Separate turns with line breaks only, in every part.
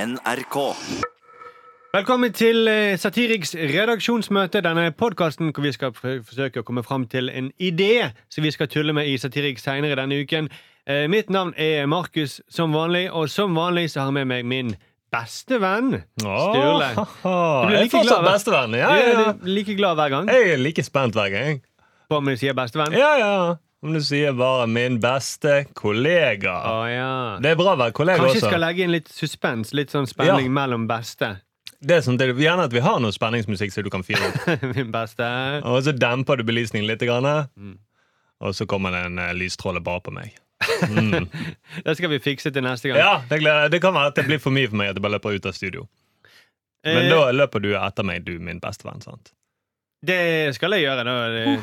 NRK.
Velkommen til eh, Satiriks redaksjonsmøte. Denne podkasten hvor vi skal f- forsøke å komme fram til en idé som vi skal tulle med i Satirik seinere denne uken. Eh, Mitt navn er Markus som vanlig, og som vanlig så har jeg med meg min beste venn Sturle.
Åh,
Du blir
jeg
like
er
glad
fortsatt
hver-
bestevenn. Ja,
Du
ja,
er
ja.
like glad hver gang
Jeg er like spent hver gang.
på om du sier bestevenn.
Ja, ja. Om du sier bare 'min beste kollega'.
Å ja.
Det er bra å være kollega
Kanskje
også.
skal legge inn litt suspens, litt sånn spenning
Ja.
mellom beste.
Det er sånn, det er Gjerne at vi har noe spenningsmusikk som du kan fyre opp.
Min beste.
Og så demper du belysningen litt, grann, og så kommer det en eh, lysstråle bare på meg. Mm.
Det skal vi fikse til neste gang.
Ja, det, gleder jeg. det kan være at det blir for mye for meg at jeg bare løper ut av studio. Men
Eh,
da løper du etter meg, du min bestevenn. sant?
Det skal jeg gjøre, da. det-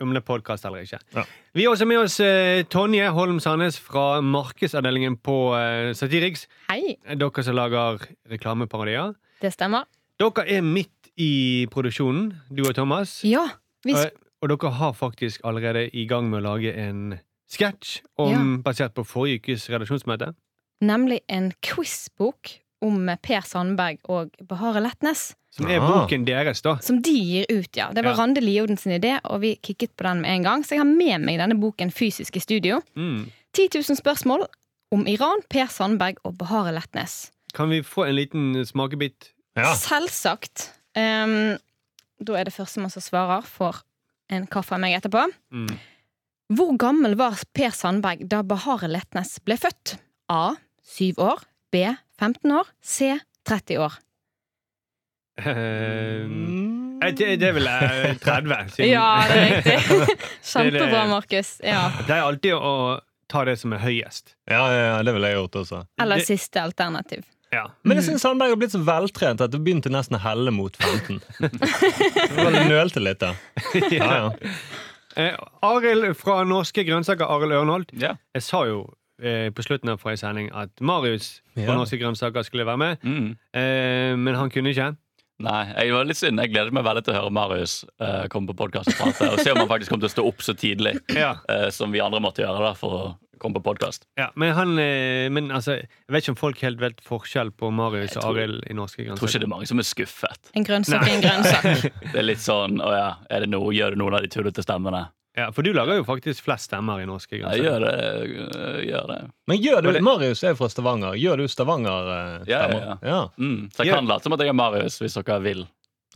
Om det er podkast eller ikke.
Ja.
Vi har også med oss eh, Tonje Holm Sandnes fra markedsavdelingen på eh, Satiriks.
Hei,
Dere som lager reklameparodier.
det stemmer.
Dere er midt i produksjonen, du og Thomas.
Ja, vi
Og, og dere har faktisk allerede i gang med å lage en sketsj om- basert på forrige ukes redaksjonsmøte.
nemlig en quizbok om Per Sandberg og Bahare Letnes.
Som er
Ah.
boken deres, da.
Som de gir ut, ja. Det var
Ja.
Rande Lioden sin idé, og vi kikket på den med en gang. Så jeg har med meg denne boken fysisk i studio.
Mm.
10 000 spørsmål om Iran, Per Sandberg og Bahare Letnes.
Kan vi få en liten smakebit?
Ja.
Selvsagt. Ehm, da er det førstemann som svarer, får en kaffe av meg etterpå.
Mm.
Hvor gammel var Per Sandberg da Bahare Letnes ble født? A. 7 år. B. 15 år. C. 30 år.
Eh, Eh, Det, det er vel eh, 30, siden
det er riktig.
Kjempebra,
Kjempebra, Markus. Ja.
Jeg pleier alltid å ta det som er høyest.
Ja, ja, ja, det ville jeg gjort også.
Eller siste alternativ.
Ja.
Men jeg syns Sandberg har blitt så veltrent at det begynte nesten å helle mot 15. Bare nølte litt, da. Ja, ja.
Eh, Arild fra Norske Grønnsaker, Arild Ørnholt.
Ja.
Jeg sa jo eh, på slutten av forrige sending at Marius fra
Ja.
Norske Grønnsaker skulle være med,
Mm.
eh, men han kunne ikke.
Nei, jeg var litt synd. Jeg gleder meg veldig til å høre Marius eh, komme på podkast og prate, og se om han faktisk kommer til å stå opp så tidlig
Ja,
eh, som vi andre måtte gjøre da, for å komme på podkast.
ja. Men, han, eh, men altså, jeg vet ikke om folk helt vet forskjell på Marius og Arild i Norske
Jeg tror ikke
Grønnsaker.
det er mange som er skuffet.
En grønnsak er en grønnsak.
Det er litt sånn å ja, er det noe, gjør du noen av de tullete stemmene?
Ja, for du lager jo faktisk flest stemmer i Norske
Ja,
Grønnsaker.
gjør det. eh, Gjør det.
Men gjør
Men
du,
det-
Marius er jo fra Stavanger. Gjør du Stavanger-stemmer?
Ja, ja, Mm. Så jeg
Gjør-
kan late som at jeg er Marius, hvis dere vil.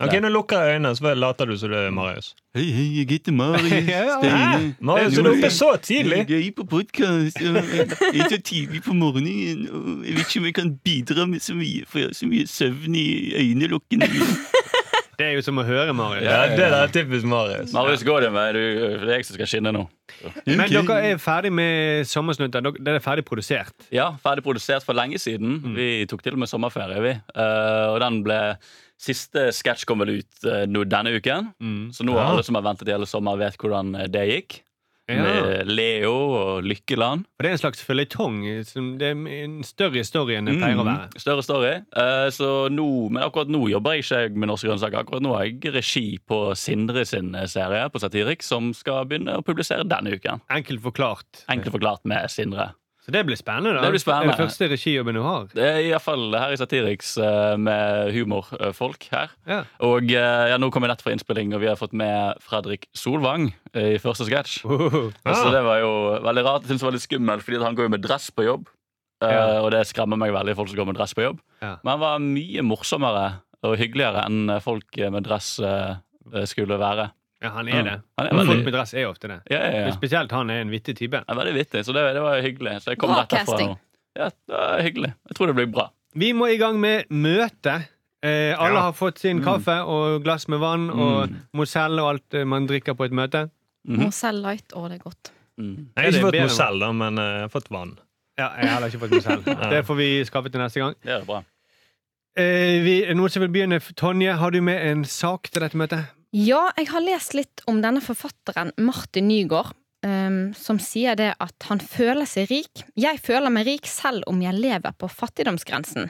Ok, Nå lukker jeg øynene, så bare later du som du er Marius.
Hei, hei, jeg heter Marius
Ja, ah,
Steine.
Marius, er du oppe så tidlig?
Jeg er på podkast. Jeg er så tidlig på morgenen. og Jeg vet ikke om jeg kan bidra med så mye, for jeg har så mye søvn i øynelokkene. mine.
Det er jo som å høre Marius.
Ja, Det der er typisk Marius.
Marius, gå din vei. Du- Det er jeg som skal skinne nå.
Men
Ok.
dere er ferdig med Sommersnutter. Dere- Dere er ferdig produsert.
Ja, ferdig produsert for lenge siden. Vi tok til og med sommerferie, vi. Eh, og den ble Siste sketsj kom vel ut eh, nå denne uken. Så nå
Ja.
alle som har ventet i hele sommer, vet hvordan eh, det gikk.
Ja.
Med Leo og Lykkeland.
Og det er en slags føljetong. som- Det er en større story enn det pleier å være.
Mm, Større story. Eh, så nå, men akkurat nå jobber jeg ikke med Norske grønnsaker. Akkurat nå har jeg regi på Sindre sin eh, serie på Satirik, som skal begynne å publisere denne uken.
Enkelt forklart.
Enkelt forklart med Sindre.
Så det blir spennende. da.
Det blir spennende.
er den første regijobben du har.
Det er iallfall her i Satiriks eh, med humorfolk her.
Ja.
Og eh, ja, nå kom jeg nett fra innspilling, og vi har fått med Fredrik Solvang eh, i første sketsj.
Ah,
Så det var jo veldig rart. Jeg synes det var litt skummelt, fordi at han går jo med dress på jobb. Eh,
Ja.
Og det skremmer meg veldig, folk som går med dress på jobb.
Ja.
Men han var mye morsommere og hyggeligere enn eh, folk med dress eh, skulle være. Mm.
Ja, han er det.
Han er
Men Folk
veldig,
med dress er ofte det.
ja, ja,
Men
ja.
Spesielt han er en vittig type.
Han er veldig vittig, så det, det var hyggelig. Så jeg kom
Bra
rett herfra
casting.
nå. Ja, det var hyggelig. Jeg tror det blir bra.
Vi må i gang med møte. Eh, alle
Ja.
har fått sin kaffe og glass med vann og Mozell og alt eh, man drikker på et møte.
Marcel Light, å, det er godt.
Mm.
Jeg har
Det er
ikke fått
bedre.
Mozell, da, men eh, jeg har fått vann.
Ja, jeg har heller ikke fått Mozell. Det får vi skaffe til neste gang.
Det er bra.
Eh, vi, noen som vil begynne? Tonje, har du med en sak til dette møtet?
Ja, jeg har lest litt om denne forfatteren Martin Nygaard, ehm, som sier det at han føler seg rik. Jeg føler meg rik selv om jeg lever på fattigdomsgrensen.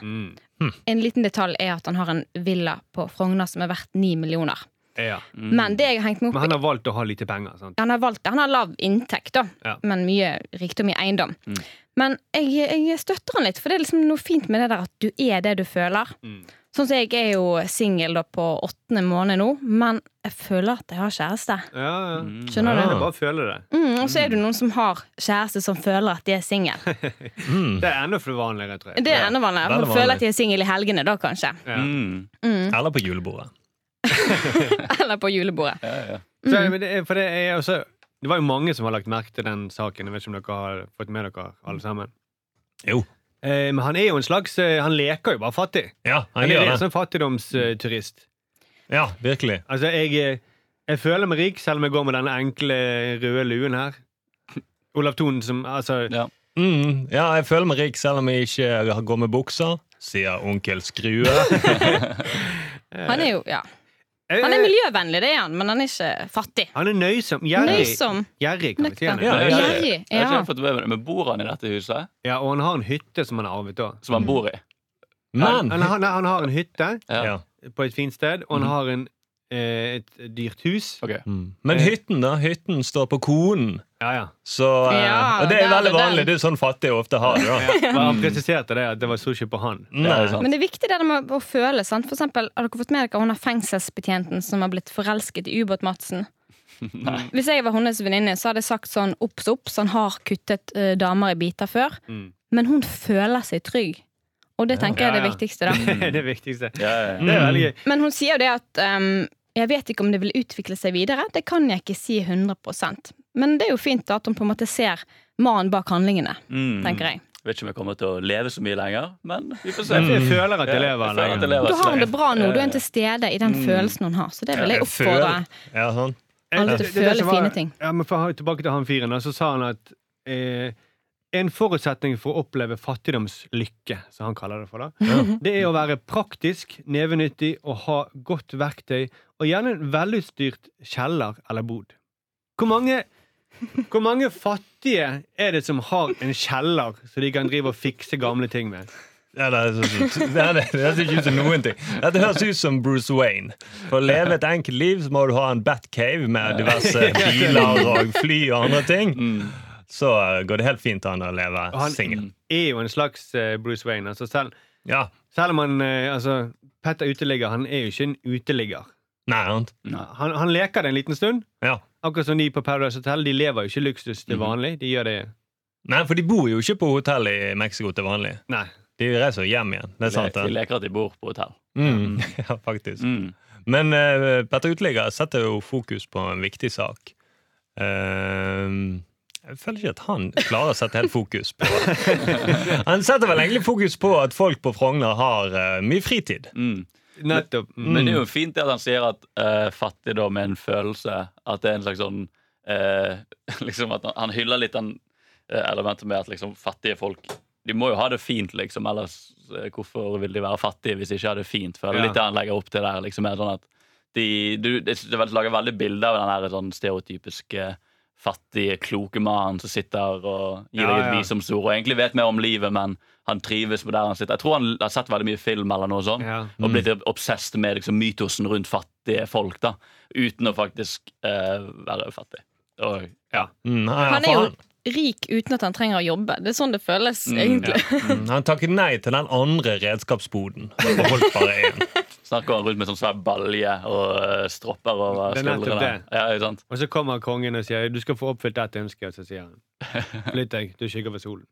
En liten detalj er at han har en villa på Frogner som er verdt ni millioner.
Ja.
Men det jeg har hengt meg
Men
opp i
han har valgt å ha lite penger. Sant?
han har valgt det. Han har lav inntekt, da,
Ja.
men mye rikdom i eiendom.
Mm.
Men jeg, jeg støtter han litt, for det er liksom noe fint med det der at du er det du føler.
Mm.
Sånn som jeg er jo singel da på åttende måned nå, men jeg føler at jeg har kjæreste.
Ja, ja.
Skjønner
Jeg
du?
Ja.
bare føler det.
Mm, og så er det noen som har kjæreste som føler at de er singel.
Mm.
Det er enda for vanligere, tror jeg.
Det er enda vanligere.
veldig
for de Føler at de er singel i helgene da, kanskje.
Ja.
Mm.
Mm.
Eller på julebordet.
Eller på julebordet.
Ja, ja.
Så,
mm.
men det, er- for det, er også, det var jo mange som har lagt merke til den saken. Jeg vet ikke om dere har fått med dere alle sammen.
Jo.
Eh, men han er jo en slags eh, Han leker jo bare fattig.
Ja, han
Han er
gjør
litt
det.
sånn fattigdomsturist.
Ja, virkelig.
Altså, jeg, eh, jeg føler meg rik selv om jeg går med denne enkle røde luen her. Olav Thon som Altså,
Ja.
Mm. Ja, jeg føler meg rik selv om jeg ikke går med bukser, sier onkel Skrue.
Han er jo, ja.
eh,
Han er miljøvennlig, det er han, men han er ikke fattig.
han er nøysom. Gjerrig.
Nøysom.
Gjerrig, kan vi si. han er.
Nøktern.
Ja, ja, ja.
Gjerrig.
Jeg har
Ja.
ikke fått med meg det, men bor han i dette huset
Ja, og han har en hytte som han har arvet. da
som
Mm.
han bor i?
Men
han, han, han har en hytte
ja.
på et fint sted, og han har en, eh, et dyrt hus.
Mm. Ok.
mm. Men hytten, da? Hytten står på konen.
Ja, ja.
Så, eh,
Ja,
og det er
der er
veldig
den.
vanlig. Det er sånn fattige ofte har det. da.
Men
Mm.
han presiserte det, at det var sushi på han.
Ja,
Nei.
det er sant.
Men det er viktig det der med å føle. Sant? For eksempel, har dere fått med dere hun har fengselsbetjenten som har blitt forelsket i ubåt-Madsen? Hvis jeg var hennes venninne, så hadde jeg sagt sånn obs, obs, han har kuttet eh, damer i biter før.
Mm.
Men hun føler seg trygg. Og det tenker jeg er det
Ja, ja.
viktigste, da.
det er det viktigste.
Ja, ja, ja.
Det er veldig gøy.
Men hun sier jo det at ehm, jeg vet ikke om det vil utvikle seg videre. Det kan jeg ikke si 100 Men det er jo fint da at hun på en måte ser mannen bak handlingene,
Mm.
tenker jeg.
Vet ikke om jeg kommer til å leve så mye lenger, men vi får se.
Jeg jeg føler at jeg
Mm. Ja,
lever
jeg føler at jeg
lenger.
lever
Da har hun det
så lenge.
bra nå. Du er til stede i den
Mm.
følelsen hun har. Så det vil jeg
Jeg
oppfordre.
føler- Ja, sånn.
Alle
Eh, Det- det- det
føler
som var-
fine ting.
Ja, men for, tilbake til han fyren, da, så sa han at eh, en forutsetning for å oppleve fattigdomslykke, som han kaller det for, da, det er å være praktisk, nevenyttig og ha godt verktøy, og gjerne en velutstyrt kjeller eller bod. Hvor mange, hvor mange fattige er det som har en kjeller, så de kan drive og fikse gamle ting med?
Ja, det, er så, det, er, det høres ikke ut som noen ting. Dette høres ut som Bruce Wayne. For å leve et enkelt liv så må du ha en Batcave med diverse biler og fly og andre ting. Så eh, går det helt fint an å leve
Og han-
singel.
Er jo en slags eh, Bruce Wayne. Altså selv,
Ja.
selv om han eh, altså, Petter uteligger, han er jo ikke en uteligger.
Nei, sant?
Han, han leker det en liten stund.
Ja.
Akkurat som de på Paradise Hotel. De lever jo ikke luksus
Mm.
til vanlig. De gjør det
Nei, for de bor jo ikke på hotell i Mexico til vanlig.
Nei.
De reiser jo hjem igjen. Det er sant,
De
det.
Mm. leker at de bor på hotell.
Mm. Ja, faktisk.
Mm.
Men eh, Petter Uteligger setter jo fokus på en viktig sak. Eh, jeg føler ikke at han klarer å sette helt fokus på Han setter vel egentlig fokus på at folk på Frogner har eh, mye fritid.
Mm.
Nettopp.
Men det er jo fint det at han sier at eh, fattigdom er en følelse. At det er en slags sånn eh, liksom at han, han hyller litt den eh, elementet med at liksom fattige folk De må jo ha det fint, liksom. Ellers eh, hvorfor vil de være fattige hvis de ikke har det fint? For det
Ja.
er litt det han legger opp til der. liksom er sånn at de, du, jeg synes Det vel- lager veldig bilde av den her sånn stereotypiske fattige, kloke mannen som sitter og gir
Ja,
deg et
ja.
visdomsord. Og egentlig vet mer om livet, men han trives med der han sitter. Jeg tror han har sett veldig mye film eller noe sånt
Mm. Ja.
og blitt obsessed med liksom, mytosen rundt fattige folk, da, uten å faktisk eh, være fattig. Og, ja.
Mm, ja, ja,
Han
for
er jo rik uten at han trenger å jobbe. Det er sånn det føles, egentlig.
han, mm, han takket nei til den andre redskapsboden. Og holdt bare én.
Snakker han rundt med sånn svær balje og eh, stropper over
Det er nettopp
skuldrene.
det.
Ja, ikke sant?
Og så kommer kongen og sier du skal få oppfylt dette ønsket, og så sier han flytt deg, du skygger for solen.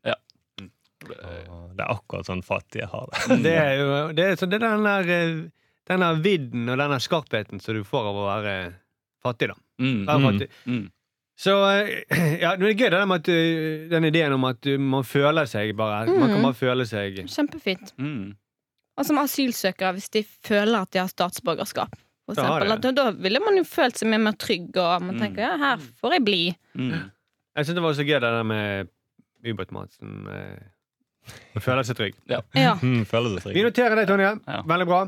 Det er akkurat sånn fattige har det.
Det er jo det er, så det er den der eh, den der vidden og den der skarpheten som du får av å være fattig, da.
Mm.
Være
Mm.
fattig.
Mm.
Så eh, ja, men det er gøy det der med at eh, den ideen om at eh, man føler seg bare Man kan
Mm.
bare føle seg
Kjempefint.
Mm.
Og som asylsøkere, hvis de føler at de har statsborgerskap. For
Da har
eksempel,
de
at da, da ville man jo følt seg mye mer trygg, og man tenker ja, her får jeg bli.
Mm.
Jeg syns det var så gøy det der med Ubåt-Madsen. Eh, å føle seg trygg.
Ja.
Mm, føler
Vi
seg trygg.
noterer det, Tonje.
Ja.
Veldig bra.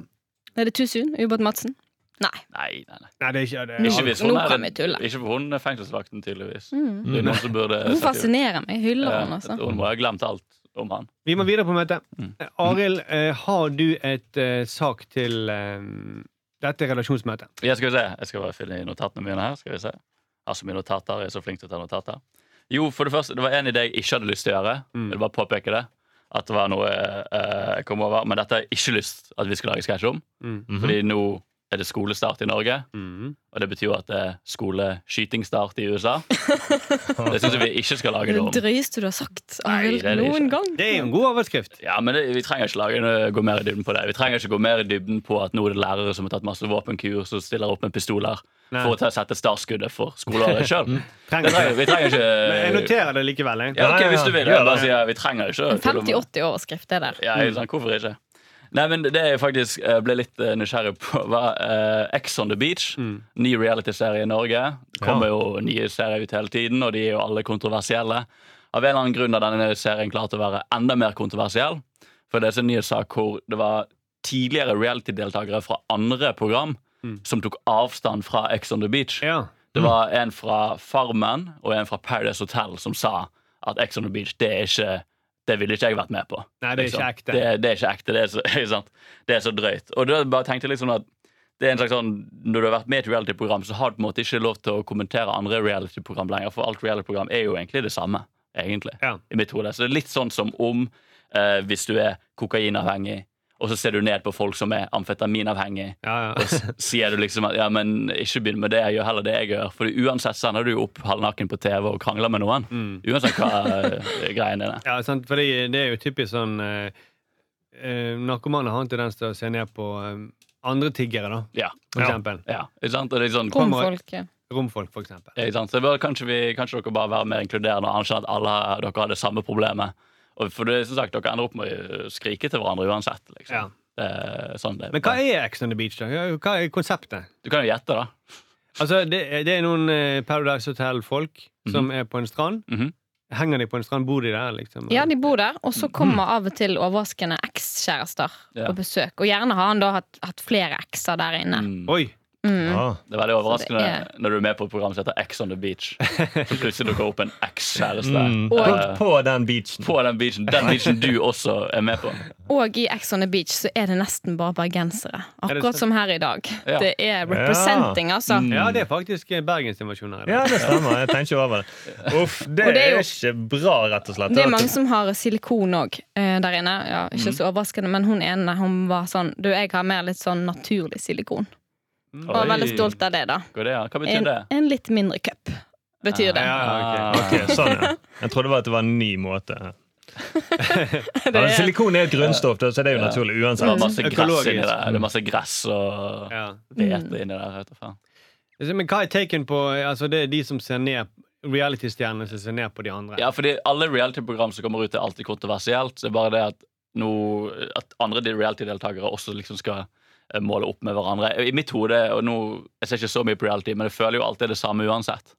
Er det too soon, Ubåt-Madsen? Nei.
Nei, nei, nei.
Nei, det er ikke det,
Nå-
Ikke hvis hun
nå
er,
kan vi tulle.
ikke for hun er fengselsvakten, tydeligvis.
Mm.
Det er noen som burde
Hun fascinerer meg. Jeg Hyller han,
Eh,
altså.
Hun må ha glemt alt om han.
Vi må videre på møtet.
Mm.
Eh, Arild, eh, har du et eh, sak til eh, Dette er redaksjonsmøte.
Ja, skal vi se. Jeg skal bare fylle i notatene mine her. Skal vi se. Jeg har så mye notater. Jeg er så flink til å ta notater. Jo, for det første, det var en idé jeg ikke hadde lyst til å gjøre.
Mm.
Jeg vil bare påpeke det. At det var noe eh, jeg kom over. Men dette har jeg ikke lyst at vi skal lage sketsj om.
Mm.
Mhm.
Fordi nå er det skolestart i Norge.
Mm.
Og det betyr jo at det er skoleskytingstart i USA. Det syns jeg vi ikke skal lage
Det
det om.
drøyeste du har sagt
Nei,
vel,
det er det
noen
ikke.
gang.
Det er jo en god overskrift.
Ja, men det, Vi trenger ikke lage, gå mer i dybden på det. Vi trenger ikke gå mer i dybden på at nå er det lærere som har tatt masse våpenkurs og stiller opp med pistoler
Nei.
for å ta, sette startskuddet for skoleåret sjøl.
Trenger ikke.
Vi trenger, vi trenger ikke
Men jeg noterer det likevel. Jeg.
eh, Ja,
Ja,
ok,
ja,
Hvis du vil.
ja,
Jeg bare
ja.
sier, vi trenger ikke
En 50-80-overskrift, det der.
Ja, jeg er sånn, Hvorfor ikke? Nei, men Det jeg faktisk eh, ble litt eh, nysgjerrig på, var eh, Ex on the Beach.
Mm.
Ny realityserie i Norge. Det kommer jo nye serier ut hele tiden, og de er jo alle kontroversielle. Av en eller annen grunn har denne serien klart å være enda mer kontroversiell. For det er en ny sak hvor det var tidligere reality-deltakere fra andre program
Mm.
som tok avstand fra Ex on the Beach.
Ja. Mm.
Det var en fra Farmen og en fra Paradise Hotel som sa at Ex on the Beach, det er ikke det ville ikke jeg vært med på.
Nei, det er ikke ekte.
Det, er- det er ikke ekte, det er så, ikke sant? Det er så drøyt. Og da bare tenkte jeg liksom at det er en slags sånn, Når du har vært med i et reality-program, så har du på en måte ikke lov til å kommentere andre reality-program lenger, for alt reality-program er jo egentlig det samme. egentlig,
Ja.
i mitt hode. Så det er litt sånn som om eh, hvis du er kokainavhengig, og så ser du ned på folk som er amfetaminavhengig,
Ja, ja.
og s- sier du liksom at ja, men ikke begynn med det, jeg gjør heller det jeg gjør. For uansett sender du jo opp halvnaken på TV og krangler med noen.
Mm.
Uansett hva eh, greien din er.
Ja, sant? Fordi det er jo typisk sånn eh, eh, Narkomane har en tendens til å se ned på eh, andre tiggere, da.
Ja,
For
Ja.
eksempel.
ja, ikke sant? Og det er sånn,
Romfolket.
Romfolk, for eksempel.
ikke sant? Så det bør, kanskje, vi, kanskje dere bare være mer inkluderende og anerkjenne at alle dere har det samme problemet. Og for det, er som sagt, Dere ender opp med å skrike til hverandre uansett. Liksom.
Ja.
Det er sånn det
Men hva er Ex on the Beach, da? Hva er konseptet?
Du kan jo gjette, da.
Altså, det, er- det er noen eh, Paradise Hotel-folk som er på en strand.
Mhm.
Henger de på en strand? Bor de der, liksom?
Ja, de bor der, og så kommer av og til overraskende ekskjærester
Ja.
på besøk. Og gjerne har han da hatt, hatt flere ekser der inne.
Mm.
Oi!
Mm.
Ja.
Det er veldig overraskende
det
når du er med på et program som heter X on the beach. Så plutselig dukker opp en ekskjæreste
Mm.
eh,
På, på den beachen.
på den beachen. Den beachen du også er med på.
Og i Ex on the Beach så er det nesten bare bergensere.
det
Akkurat
sant?
som her i dag.
Ja.
Det er representing, altså.
Mm.
Ja, det er faktisk eh, bergensinvasjoner. i dag.
Ja, det stemmer. Jeg tenker ikke over det. Uff, det,
Og det er
er,
jo-
ikke bra, rett og slett.
Det er mange som har silikon òg der inne. Ja,
Mm.
ikke så overraskende, men hun ene hun var sånn Du, jeg har mer litt sånn naturlig silikon. Og
Oi.
var veldig stolt av det, da.
Går det, ja? Hva betyr
En,
det?
en litt mindre cup, betyr det.
Ja,
Ah,
Ok, sånn, ja. Jeg trodde bare at det var en ny måte.
Det
Ja,
er-
silikon er et grunnstoff, da, så det er jo naturlig
Det var
uansett.
masse gress
Økologisk.
inni der. Det er masse gress og
Ja.
Mm.
hvete inni der. Vet du faen.
Altså, Men hva er taken på Altså, det er de som ser ned Reality-stjernene som ser ned på de andre.
Ja, fordi alle reality-program som kommer ut, er alltid kontroversielt. Så det er bare det at, nå, at andre de- reality-deltakere også liksom skal eh, måle opp med hverandre. I mitt hode, og nå, jeg ser ikke så mye på reality, men jeg føler jo alltid det samme uansett.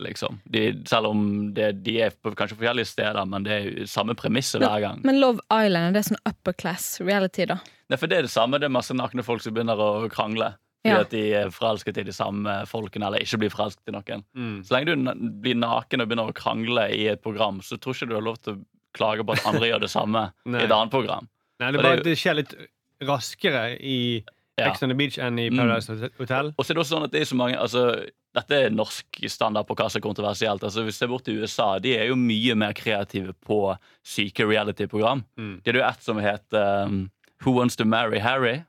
Liksom. De, selv om det, de er på kanskje forskjellige steder, men det er jo samme premisset hver gang.
Men Love Island, det er sånn upper class reality, da.
Nei, for det er det samme. Det er masse nakne folk som begynner å krangle. Fordi
Ja.
at de er forelsket i de samme folkene, eller ikke blir forelsket i noen.
Mm.
Så lenge du na- blir naken og begynner å krangle i et program, så tror ikke du har lov til å klage på at andre gjør det samme i
Nei.
et annet program.
Nei, det,
Og
er bare,
det
at
er
det skjer litt raskere i
Ja.
Ex on the Beach enn i
Mm.
Paradise Hotel.
Og så er det også sånn at det er så mange altså, Dette er norsk standard på hva som er kontroversielt. Altså, hvis du ser bort til USA, de er jo mye mer kreative på syke reality-program.
Mm.
Det er jo et som heter um, Who Wants to Marry Harry?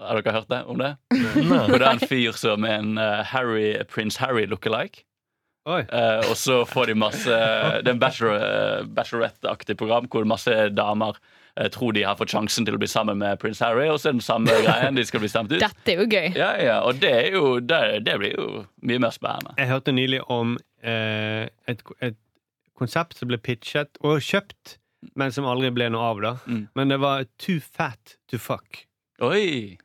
Har dere hørt det om det?
Nei.
Hvor det er en fyr som er en eh, Harry, Prince Harry look-alike.
Oi.
Eh, og så får de masse Det er en bachelor, eh, bachelorette-aktig program hvor masse damer eh, tror de har fått sjansen til å bli sammen med prins Harry, og så er det den samme greien. De skal bli stemt ut.
Dette er jo gøy.
Ja, ja, Og det, er jo, det, det blir jo mye mer spennende.
Jeg hørte nylig om eh, et, et konsept som ble pitchet og kjøpt, men som aldri ble noe av. da
Mm.
Men det var Too Fat to Fuck.
Oi!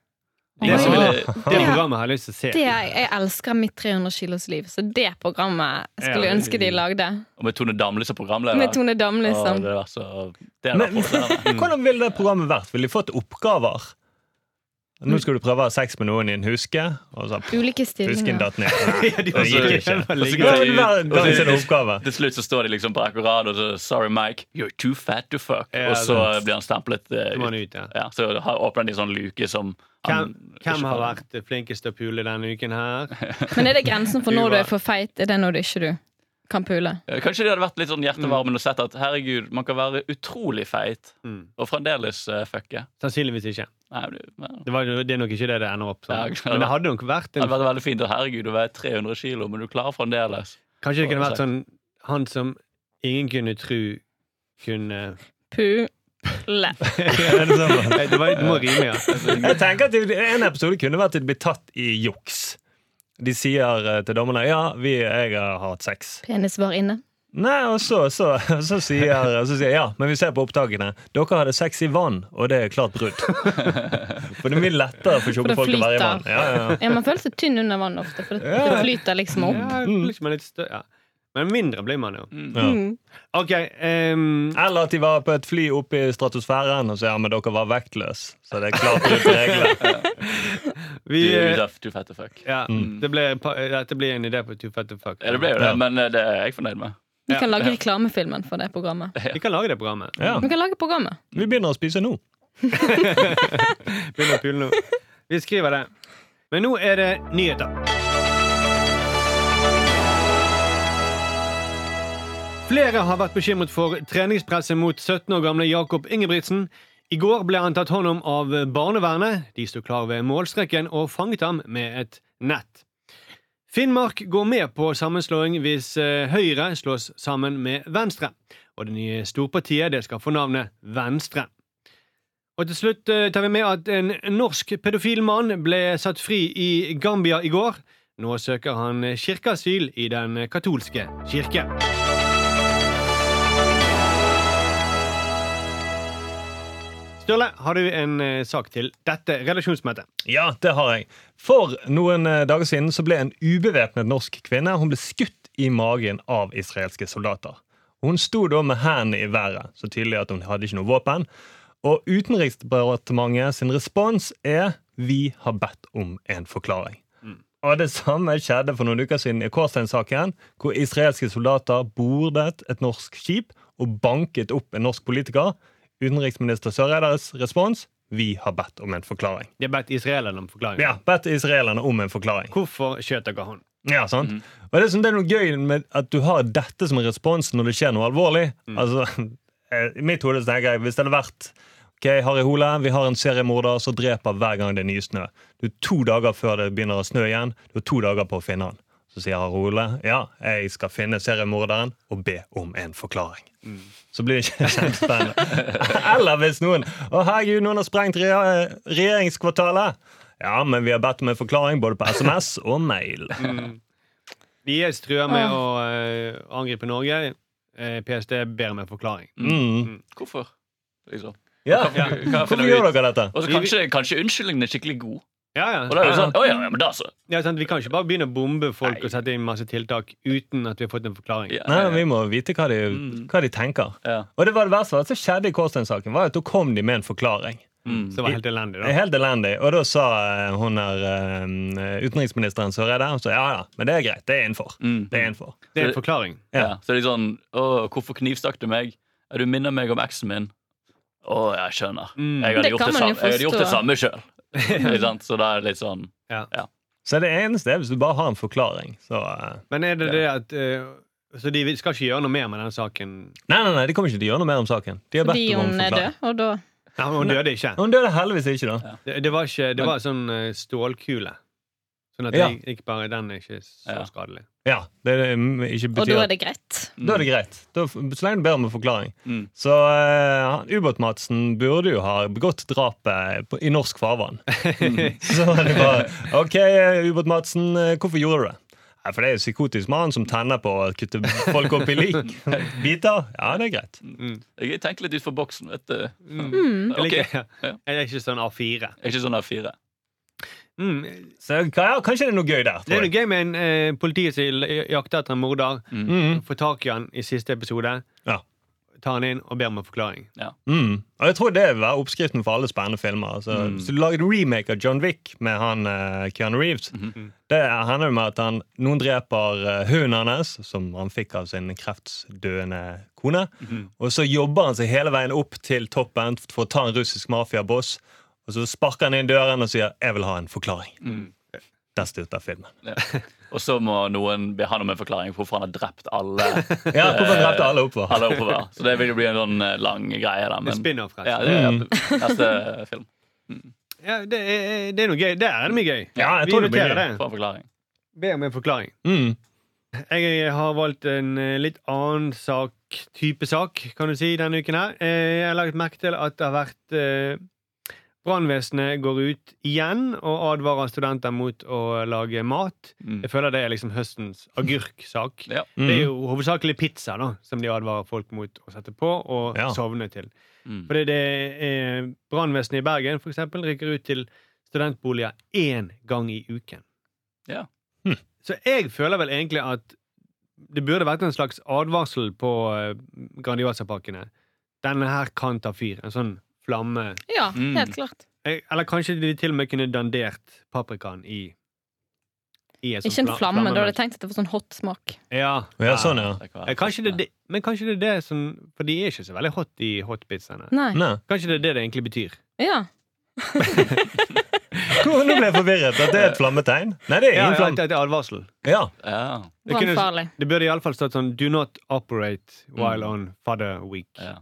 Det,
Ingen som
ville-
ville-
det programmet har jeg lyst til å se.
Det jeg, jeg elsker mitt 300 kilos liv, så det programmet skulle
Ja,
jeg ønske de
det-
lagde.
Og med Tone Damli som programleder.
Med Tone Damli
Å,
som
det var så, det er
Men
Men,
hvordan ville det programmet vært? Ville de fått oppgaver? Nå skulle du prøve å ha sex med noen i en huske, og så husken
Ulike stillinger.
datt ned. Nei,
Ja, de
Det
var så-
gikk ikke.
var
Og så
ligge-
går det hver dagens oppgave.
Til slutt så står de liksom på akkurat og så Sorry, Mike, you're too fat to fuck.
Ja,
og så
sant.
blir han stemplet eh,
Så må han
ut.
ut, ja.
Ja, så har- åpner de en sånn luke som
Hvem, hvem
ikke
har
har-
vært flinkest til å pule denne uken her?
Men er det grensen for
Du
når du
var-
er for feit, er det når du ikke du kan pule?
Eh, Kanskje de hadde vært litt sånn hjertevarmende og sett at herregud, man kan være utrolig feit
Mm.
og fremdeles uh, fucke.
Sannsynligvis ikke.
Nei, men det, men,
Det, var, jo- det er nok ikke det det ender opp som.
Ja, klart.
Men det hadde nok vært
det hadde
en,
vært veldig fint. Og herregud, du veier 300 kilo, men du klarer fremdeles.
Kanskje det kunne
Hva
vært
har
sånn han som ingen kunne tru kunne
Pule.
Er det sånn?
Nei, Det, var, det må rime, ja.
Jeg tenker at det- En episode kunne vært at de blir tatt i juks. De sier eh, til dommerne ja, vi, jeg har hatt sex.
Penis var inne.
Nei, og så, så, og så, sier, og så sier jeg ja, men vi ser på opptakene. Dere hadde sex i vann, og det er klart brudd. For det er mye lettere for tjukke
det
folk å være i
flyter.
vann. Ja, ja, ja.
Ja, Man føler seg tynn under vann ofte, for det,
Ja.
det flyter liksom opp.
ja, liksom litt stø ja. Men mindre blir man jo.
Ja.
Mm.
OK. ehm,
Eller at de var på et fly oppe i stratosfæren og så ja, men dere var vektløse. Så det er klart brudd på reglene.
Du,
vi eh,
du er too fat to fuck.
ja, det ble, pa- Dette blir en idé på Too Fat to Fuck.
Ja, det ble jo det,
Ja.
men eh, det er jeg fornøyd med.
Vi kan lage reklamefilmen for det programmet.
Vi kan lage det programmet.
Ja,
Vi kan lage programmet.
Vi begynner å spise nå.
Begynner å pule nå. Vi skriver det. Men nå er det nyheter. Flere har vært bekymret for treningspresset mot 17 år gamle Jakob Ingebrigtsen. I går ble han tatt hånd om av barnevernet. De sto klar ved målstreken og fanget ham med et nett. Finnmark går med på sammenslåing hvis eh, Høyre slås sammen med Venstre. Og det nye storpartiet det skal få navnet Venstre. Og til slutt eh, tar vi med at en norsk pedofil mann ble satt fri i Gambia i går. Nå søker han kirkeasyl i den katolske kirke. Sturle, har du en eh, sak til dette redaksjonsmøtet?
Ja, det har jeg. For noen eh, dager siden så ble en ubevæpnet norsk kvinne Hun ble skutt i magen av israelske soldater. Hun sto da med hendene i været, så tydelig at hun hadde ikke noe våpen. Og Utenriksdepartementet sin respons er 'Vi har bedt om en forklaring'. Og det samme skjedde for noen uker siden i Kårstein-saken, hvor israelske soldater bordet et norsk skip og banket opp en norsk politiker. Utenriksminister Søreides respons 'Vi har bedt om en forklaring'.
De har bedt israelerne om forklaring.
Ja, bedt israelerne om en forklaring.
Hvorfor skjøt dere han?
Ja, sant? Og det er, sånn, det er noe gøy med at du har dette som en respons når det skjer noe alvorlig. Altså, eh, I mitt hode så tenker jeg, hvis det hadde vært Ok, Harry Hole, vi har en seriemorder som dreper hver gang det er nysnø. Du er to dager før det begynner å snø igjen. Du har to dager på å finne han. Så sier Harry Hole ja, jeg skal finne seriemorderen og be om en forklaring. Så blir det ikke kjempespennende. Eller hvis noen Å, herregud, noen har sprengt re regjeringskvartalet! Ja, men vi har bedt om en forklaring både på SMS og mail.
Mm. IS truer
Ah.
med å eh, angripe Norge. Eh, PST ber om en forklaring.
Mm.
Hvorfor? Liksom.
Ja.
Hva finner
Hvorfor
vi
gjør
ut?
dere dette?
Og så kanskje, kanskje unnskyldningen er skikkelig god.
Ja, ja.
Og da er det sånn, «Å ja, ja, men da så.
Ja, sant? Vi kan ikke bare begynne å bombe folk
Nei.
og sette inn masse tiltak uten at vi har fått en forklaring.
Ja,
Nei,
ja,
Vi må vite hva de,
Mm.
hva de tenker.
ja.
Og det var det verste som skjedde i Kårstein-saken, var at da kom de med en forklaring.
Mm.
Så det var helt elendig,
Det er
da.
Helt elendig. Og da sa eh, hun her eh, utenriksministeren Søreide hun sa, ja ja, men det er greit. Det er innenfor.
Mm.
Det er innenfor.
Det er en forklaring.
Ja. Så det er sånn Å, hvorfor knivstakk du meg? Ja, Du minner meg om eksen min. Å, jeg skjønner.
Mm.
Jeg hadde
Det
gjort
kan
det,
man jo
samme, jeg hadde gjort det
forstå.
samme sjøl. Så det er litt sånn
Så det eneste er hvis du bare har en forklaring. Så, eh,
Men er det det at eh, Så de skal ikke gjøre noe mer med den saken?
nei, nei, nei, de kommer ikke til å gjøre noe mer om saken. De har bedt
Fordi
om en
hun er
forklaring.
død, og da
Nei, hun døde ikke.
Hun døde heldigvis ikke, da.
Det, det var ikke Det var sånn eh, stålkule. Sånn at
Ja.
det gikk bare den er ikke så
Ja.
skadelig.
Ja, det er, mm, ikke
Og da
betyr
er det greit.
Mm. Da er det greit. Da, så lenge du ber om en forklaring.
Mm.
Så eh, han- Ubåt-Madsen burde jo ha begått drapet på, i norsk farvann. så var det bare OK, eh, Ubåt-Madsen, eh, hvorfor gjorde du det? Nei, For det er en psykotisk mann som tenner på å kutte folk opp i lik. Biter. Ja, det er greit.
Mm.
Jeg tenker litt utenfor boksen, vet du.
Jeg,
Mm.
Mm. Ok.
liker,
Ja.
jeg er ikke sånn A4.
Jeg er ikke sånn A4.
Mm.
Så ja, kanskje det er noe gøy der.
Det er
Tror
noe
jeg.
gøy med en eh, politi som jakter etter en morder,
Mm.
får tak i han i siste episode.
Ja.
tar han inn og ber om en forklaring.
Mm. Og jeg tror det vil være oppskriften for alle spennende filmer. Altså,
Mm.
Hvis du lager et remake av John Wick med han eh, Keanu Reeves,
Mm-hmm.
Mhm.
det handler jo om at han, noen dreper eh, hunden hans, som han fikk av sin kreftsdøende kone.
Mm-hmm.
Og så jobber han seg hele veien opp til toppen for å ta en russisk mafiaboss. Og så sparker han inn døren og sier 'jeg vil ha en forklaring'.
Mm.
Der slutter filmen.
Og så må noen be han om en forklaring på hvorfor han har drept alle.
Ja, hvorfor
eh,
drepte alle oppover?
alle oppover. Så det vil jo bli en sånn eh, lang greie. Da,
En
men,
spin-off, rett og
ja,
slett.
det er
Mm.
neste film.
Ja, det, er- det er noe gøy. Der er det mye gøy.
Ja, jeg
Vi
tror det blir
noterer
gøy.
For en forklaring.
Be om en forklaring.
Mm.
Jeg har valgt en eh, litt annen sak, type sak, kan du si, denne uken her. Eh, Jeg har lagt merke til at det har vært eh, Brannvesenet går ut igjen og advarer studenter mot å lage mat.
Mm.
Jeg føler det er liksom høstens agurksak.
Ja.
Mm.
Det er jo hovedsakelig pizza da, som de advarer folk mot å sette på og
Ja.
sovne til.
Mm.
Fordi det er brannvesenet i Bergen for eksempel, rykker ut til studentboliger én gang i uken.
Ja.
Hm.
Så jeg føler vel egentlig at det burde vært en slags advarsel på eh, Grandiosa-pakkene. Denne her kan ta fyr. En sånn flamme.
Ja,
Mm.
helt klart.
Eh, Eller kanskje de til og med kunne dandert paprikaen i, i sånt
sånn
Ikke
fla-
en flamme. Da hadde
flammemønster.
jeg tenkt at det var sånn hot smak.
Ja.
Ja, sånn, ja.
Det kan være.
Eh, Kanskje det, er det, men kanskje det er det som For de er ikke så veldig hot, de hotpizzaene.
Nei.
Nei.
Kanskje det er det det egentlig betyr.
Ja.
Hvor- Nå ble jeg forvirret. At det er et flammetegn? Nei, det er
Ja,
ingen
ja,
flamme.
det er et advarsel.
Ja.
Ja,
Det, kunne,
Brannfarlig.
det burde iallfall stått sånn Do not operate while on father week.
ja,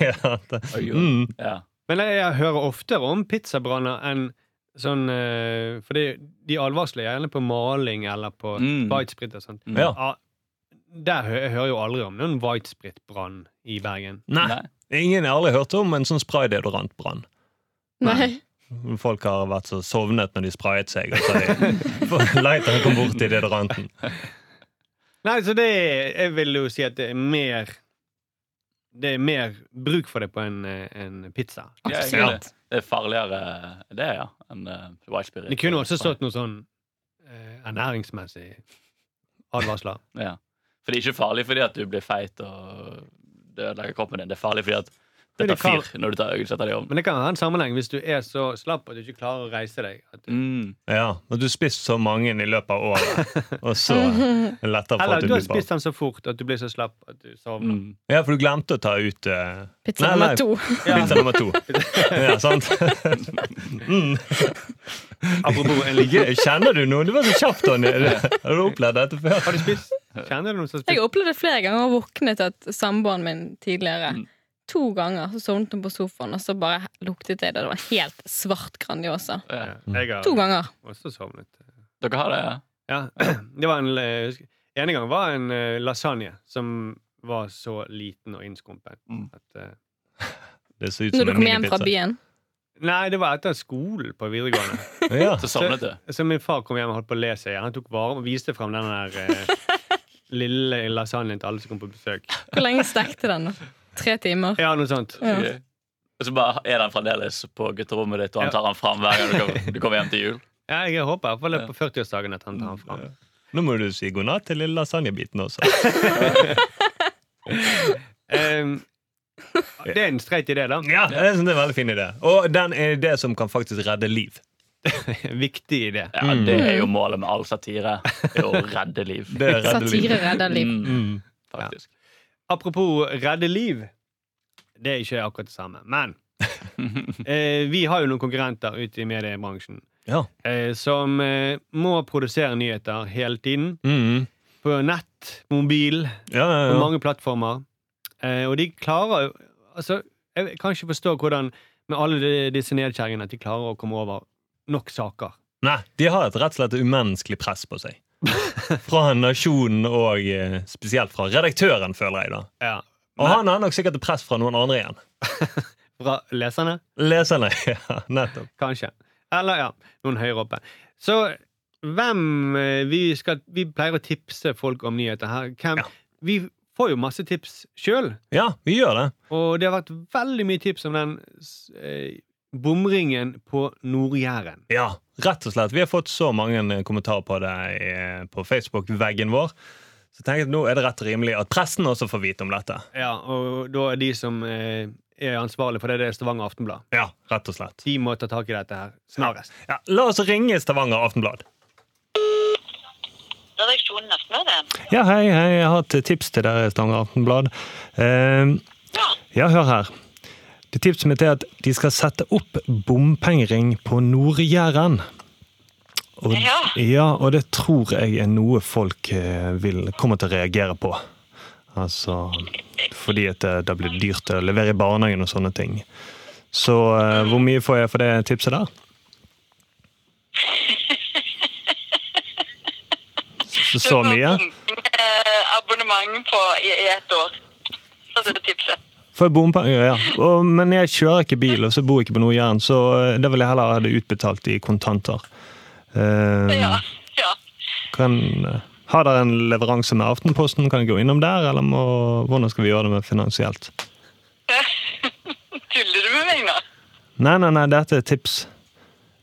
ja. det-
Oi, oi.
Mm.
ja.
Men jeg, jeg hører oftere om pizzabranner enn sånn eh, Fordi de advarsler gjerne på maling eller på
Mm.
whitesprit og sånt.
Mm.
Ja.
Ja, der hø jeg hører jo aldri om noen whitesprit-brann i Bergen.
Nei. Ingen har aldri hørt om en sånn sprayddeodorantbrann.
Nei.
Folk har vært så sovnet når de sprayet seg. Og så har de for lighteren kom bort i deodoranten.
Nei, så det er, Jeg vil jo si at det er mer Det er mer bruk for det på en, eh, en pizza.
Ja,
Absolutt.
egentlig. Det er Eh, farligere det, ja, enn eh, white spirit.
Det kunne også stått noe sånn eh, ernæringsmessig advarsler.
Ja. For det er ikke farlig fordi at du blir feit og det ødelegger kroppen din. Det er farlig fordi at det
Fordi
tar
kar-
fyr når du tar utsetter deg om.
Men det kan ha en sammenheng hvis du er så slapp at du ikke klarer å reise deg. At du,
Mm.
Ja, og du har spist så mange i løpet av året, og så er det lettere for
eller
at du
du har
blir bar.
spist den så fort at du blir så slapp at du sovner.
Mm.
Ja, for du glemte å ta ut eh,
Pizza
Nei, nei.
nummer to.
Ja.
pizza nummer to. Ja, sant? Mm.
Mm.
Apropos en ligge.
Gøy, Kjenner du noen? Du var så kjapp, Tonje. Har du opplevd dette før?
Har du spist? Kjenner du noen som har
Jeg
spist?
opplevde flere ganger å våkne til at samboeren min tidligere
Mm.
To ganger så sovnet hun på sofaen, og så bare luktet jeg det. Det var helt svart Grandiosa.
Ja.
Ja, Jeg
To
har
ganger.
også sovnet.
Dere har det? ja?
Ja, det var en eh, husk- Ene gang var en eh, lasagne som var så liten og innskumpet
Mm.
at eh,
Det ser ut
Når
som
du
en
kom hjem fra
minipizza.
byen.
Nei, det var etter skolen på videregående.
Ja.
Så sovnet du?
Så min far kom hjem og holdt på å le seg. Han tok vare og viste fram den der eh, lille lasagnen til alle som kom på besøk.
Hvor lenge stekte den? da? Tre timer?
Ja, noe sånt.
Ja.
Ok. Og så bare er den fremdeles på gutterommet ditt, og han tar den fram hver gang du kommer, du kommer hjem til jul?
Ja, jeg håper i hvert fall det er på 40-årsdagen at han tar den fram.
Nå må du si god natt til lille lasagnebiten også.
Ehm, det er en streit idé, da.
Ja, jeg synes det er en veldig fin idé. Og den er det som kan faktisk redde liv.
Viktig idé.
Ja, Det er jo målet med all satire. Det er å redde liv.
Det er redde liv.
Satire redder liv.
Mm,
Mm.
faktisk.
Apropos redde liv. Det er ikke akkurat det samme. Men eh, vi har jo noen konkurrenter ute i mediebransjen
Ja.
eh, som eh, må produsere nyheter hele tiden.
Mm.
På nett, mobil,
ja, ja,
på
ja.
mange plattformer. Eh, og de klarer jo- altså, Jeg kan ikke forstå hvordan, med alle de, disse nedkjæringene, at de klarer å komme over nok saker.
Nei, de har et rett og slett umenneskelig press på seg. Fra nasjonen og eh, spesielt fra redaktøren, føler jeg da.
Ja.
Og han har nok sikkert et press fra noen andre igjen.
Fra leserne,
Leserne, ja, nettopp.
kanskje. Eller ja, noen høyere oppe. Så hvem eh, vi skal Vi pleier å tipse folk om nyheter her. Hvem,
Ja.
Vi får jo masse tips sjøl,
Ja, vi gjør det.
og det har vært veldig mye tips om den s- eh, bomringen på Nord-Jæren.
Ja, rett og slett. Vi har fått så mange eh, kommentarer på det eh, på Facebook-veggen vår. Så jeg tenkte jeg at nå er det rett og rimelig at pressen også får vite om dette.
Ja, og da er de som eh, er ansvarlig for det, det er Stavanger Aftenblad.
Ja, rett og slett.
De må ta tak i dette her snarest.
Ja, la oss ringe Stavanger Aftenblad.
Redaksjonen Aftenbladet.
Ja, hei, hei, jeg har et tips til dere, Stavanger Aftenblad. Eh,
Ja.
ja, hør her. Det tipset mitt er at de skal sette opp bompengering på Nord-Jæren. Og,
Ja.
ja, og det tror jeg er noe folk eh, vil komme til å reagere på. Altså fordi at eh, det, det blir dyrt å levere i barnehagen og sånne ting. Så eh, hvor mye får jeg for det tipset der? Så, så mye?
Eh, abonnement på, i, i et år. Så det er tipset.
For bompenger, ja. Og, men jeg kjører ikke bil, og så bor jeg ikke på Nord-Jæren, så eh, det vil jeg heller ha det utbetalt i kontanter. Eh,
Ja. ja.
kan, eh, har dere en leveranse med Aftenposten? Kan jeg gå innom der, eller må, hvordan skal vi gjøre det med finansielt?
Tuller du med meg nå?
Nei, nei, nei, dette er tips.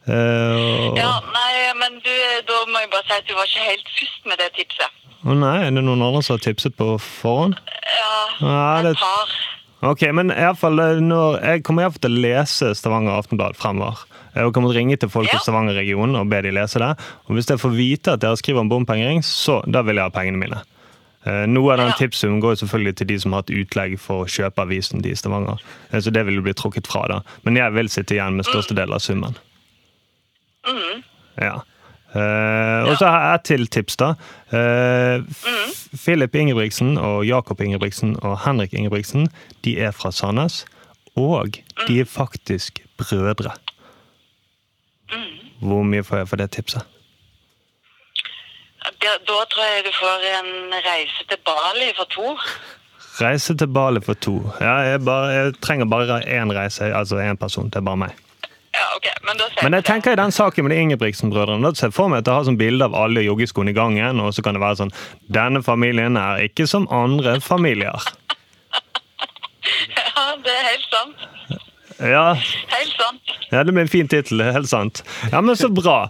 Eh, og,
Ja, nei, men du, da må jeg bare si at du var ikke helt først med det tipset.
Å nei, er det noen andre som har tipset på forhånd?
Ja,
Ja, det,
et par.
ok, men i hvert fall, eh, når, jeg kommer iallfall til å lese Stavanger Aftenblad fremover. Jeg kommer til å ringe til folk
Ja.
i Stavanger-regionen og be de lese det. Og hvis jeg får vite at dere skriver om bompengering, så da vil jeg ha pengene mine. Eh, Noe av den
Ja.
tipssummen går jo selvfølgelig til de som har hatt utlegg for å kjøpe avisen de i Stavanger. Eh, Så det vil jo bli trukket fra, da. Men jeg vil sitte igjen
Mm.
med største del av summen. Ja. Eh, og så har jeg et til tips, da. Eh, F- Philip Ingebrigtsen og Jakob Ingebrigtsen og Henrik Ingebrigtsen de er fra Sandnes. Og de er faktisk brødre. Hvor mye får jeg for det tipset?
Da, da tror jeg du får en reise til Bali for to.
Reise til Bali for to. Ja, jeg, bare, jeg trenger bare én reise, altså én person. Det er bare meg.
Ja, ok, men da sier
Men
vi
jeg tenker i den saken med de Ingebrigtsen-brødrene da ser jeg for meg at jeg har sånn bilde av alle i joggeskoene i gangen, og så kan det være sånn Denne familien er ikke som andre familier.
det. Ja, det er helt sant.
Ja,
Helt sant.
ja det blir en fin tittel. Helt sant. Ja, men så bra.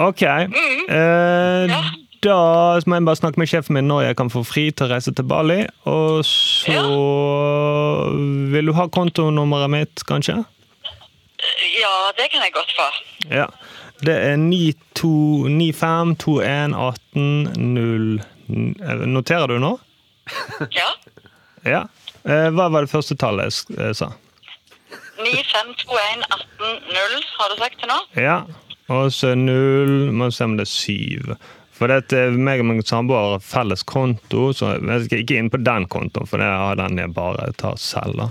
Ok. Eh, da må jeg bare snakke med sjefen min når jeg kan få fri til å reise til Bali. Og så Vil du ha kontonummeret mitt, kanskje?
Ja, det kan jeg godt få.
Ja. Det er 9295211800 eh, Noterer du nå?
Ja.
Ja. Eh, Hva var det første tallet jeg sk- eh, sa?
9521 180 har du sagt til nå?
Ja. Og så null Må se om det er syv. For det at eh, meg og min samboer har felles konto, så jeg skal ikke inn på den kontoen, for det er den jeg bare tar selv. da.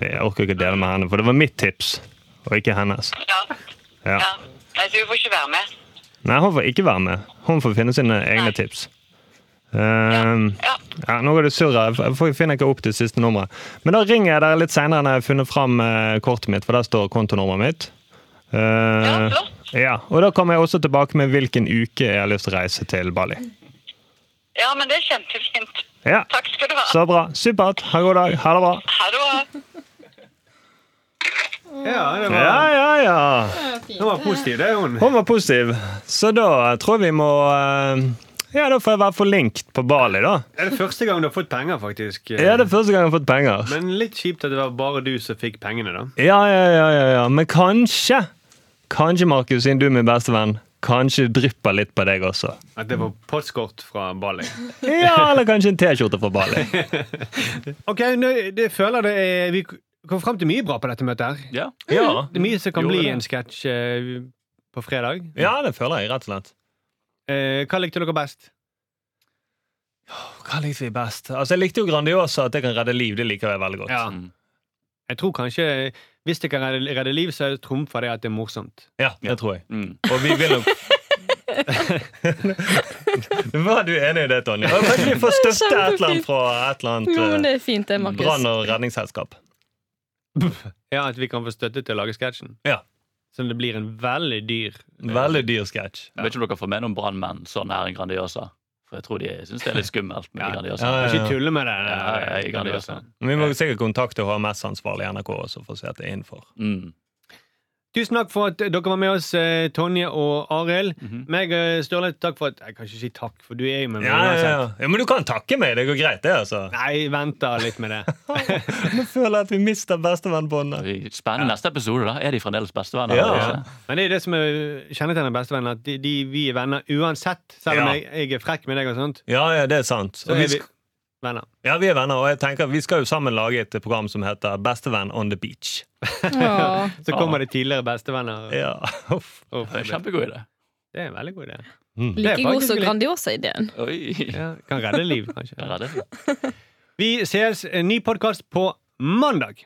Jeg orker ikke dele med henne, for det var mitt tips, og ikke hennes.
Ja.
Ja.
ja. Nei, så du får ikke være med.
Nei, hun får ikke være med. Hun får finne sine egne
Nei.
tips. Ehm,
Ja.
ja, nå går det surr her. Jeg får- Jeg finner ikke opp det siste nummeret. Men da ringer jeg dere litt seinere når jeg har funnet fram eh, kortet mitt, for der står kontonummeret mitt. Eh,
Ja, flott.
ja, og da kommer jeg også tilbake med hvilken uke jeg har lyst til å reise til Bali.
Ja, men det er kjempefint.
Ja,
Takk skal du ha.
Så bra. Supert. Ha en god dag. Ha det bra.
Ha det bra.
Ja, det var,
Ja, ja, ja.
Hun var positiv, det er hun.
Hun var positiv. Så da tror jeg vi må eh, Ja, da får jeg i hvert fall link på Bali, da.
Det er det første gang du har fått penger, faktisk.
Er det første gang jeg har fått penger?
Men litt kjipt at det var bare du som fikk pengene, da.
Ja, ja, ja, ja, ja. Men kanskje Kanskje, Markus, siden du er min beste venn Kanskje det drypper litt på deg også
At det var postkort fra Bali.
Ja, eller kanskje en t-skjorte fra Bali
Ok, nå, det føler det er Vi kom fram til mye bra på dette møtet her.
Ja.
ja.
Det er mye som kan
Gjorde
bli
det.
en sketsj eh, på fredag.
ja, det føler jeg rett og slett
Eh, hva likte dere best?
Hva likte vi best? Altså, jeg likte jo Grandiosa at jeg kan redde liv Det liker jeg veldig godt
Ja.
Mm.
Jeg tror kanskje Hvis det kan redde, redde liv, så er det trumfa det at det er morsomt.
Ja, det tror jeg
Mm.
Og vi vil nok Var du enig i det, Tonje? Og Kanskje vi får støtte et eller annet fra et eller
Jo, men
annet
det er fint, det,
eh,
Markus.
Brann- og redningsselskap
Ja, At vi kan få støtte til å lage sketsjen.
Ja.
Så det blir en veldig dyr
Veldig dyr sketsj
Jeg vet ikke om dere får med noen brannmenn så nær en Grandiosa. For jeg tror de synes det er litt skummelt med
Ja.
Grandiosa.
Ja, ja, ja.
Ikke tulle med det.
Ja, ja, ja, Grandiosa.
Men Vi må sikkert kontakte HMS-ansvarlig i NRK også for å se at det er innenfor.
Mm.
Tusen takk for at dere var med oss, eh, Tonje og Arild. Meg og Sturle, takk for at Jeg kan ikke si takk, for du er jo med meg
Ja, ja,
uansett.
ja. ja, Men du kan takke meg. Det går greit, det, altså.
Nei, venter litt med det.
Nå føler jeg at vi mister bestevennbåndet.
Spennende neste episode, da. Er de fremdeles bestevenner?
Ja.
eller ikke?
Men det er det som er kjennetegnet bestevenner, at de, de, vi er venner uansett. Selv om
Ja.
jeg, jeg er frekk med deg og sånt,
Ja, ja, det er sant.
så
Og vi
er vi
sk-
venner.
ja, vi er venner, og jeg tenker vi skal jo sammen lage et program som heter Bestevenn on the beach.
Åh.
Så kommer det tidligere bestevenner. og-
Ja, uff.
og-
Det er en kjempegod idé.
det er en veldig god idé.
Mm.
Det er
Like god
faktisk
som
litt-
Grandiosa-ideen.
Oi.
Ja, kan redde liv,
Jeg
kanskje.
er redd.
Vi ses en ny podkast på mandag.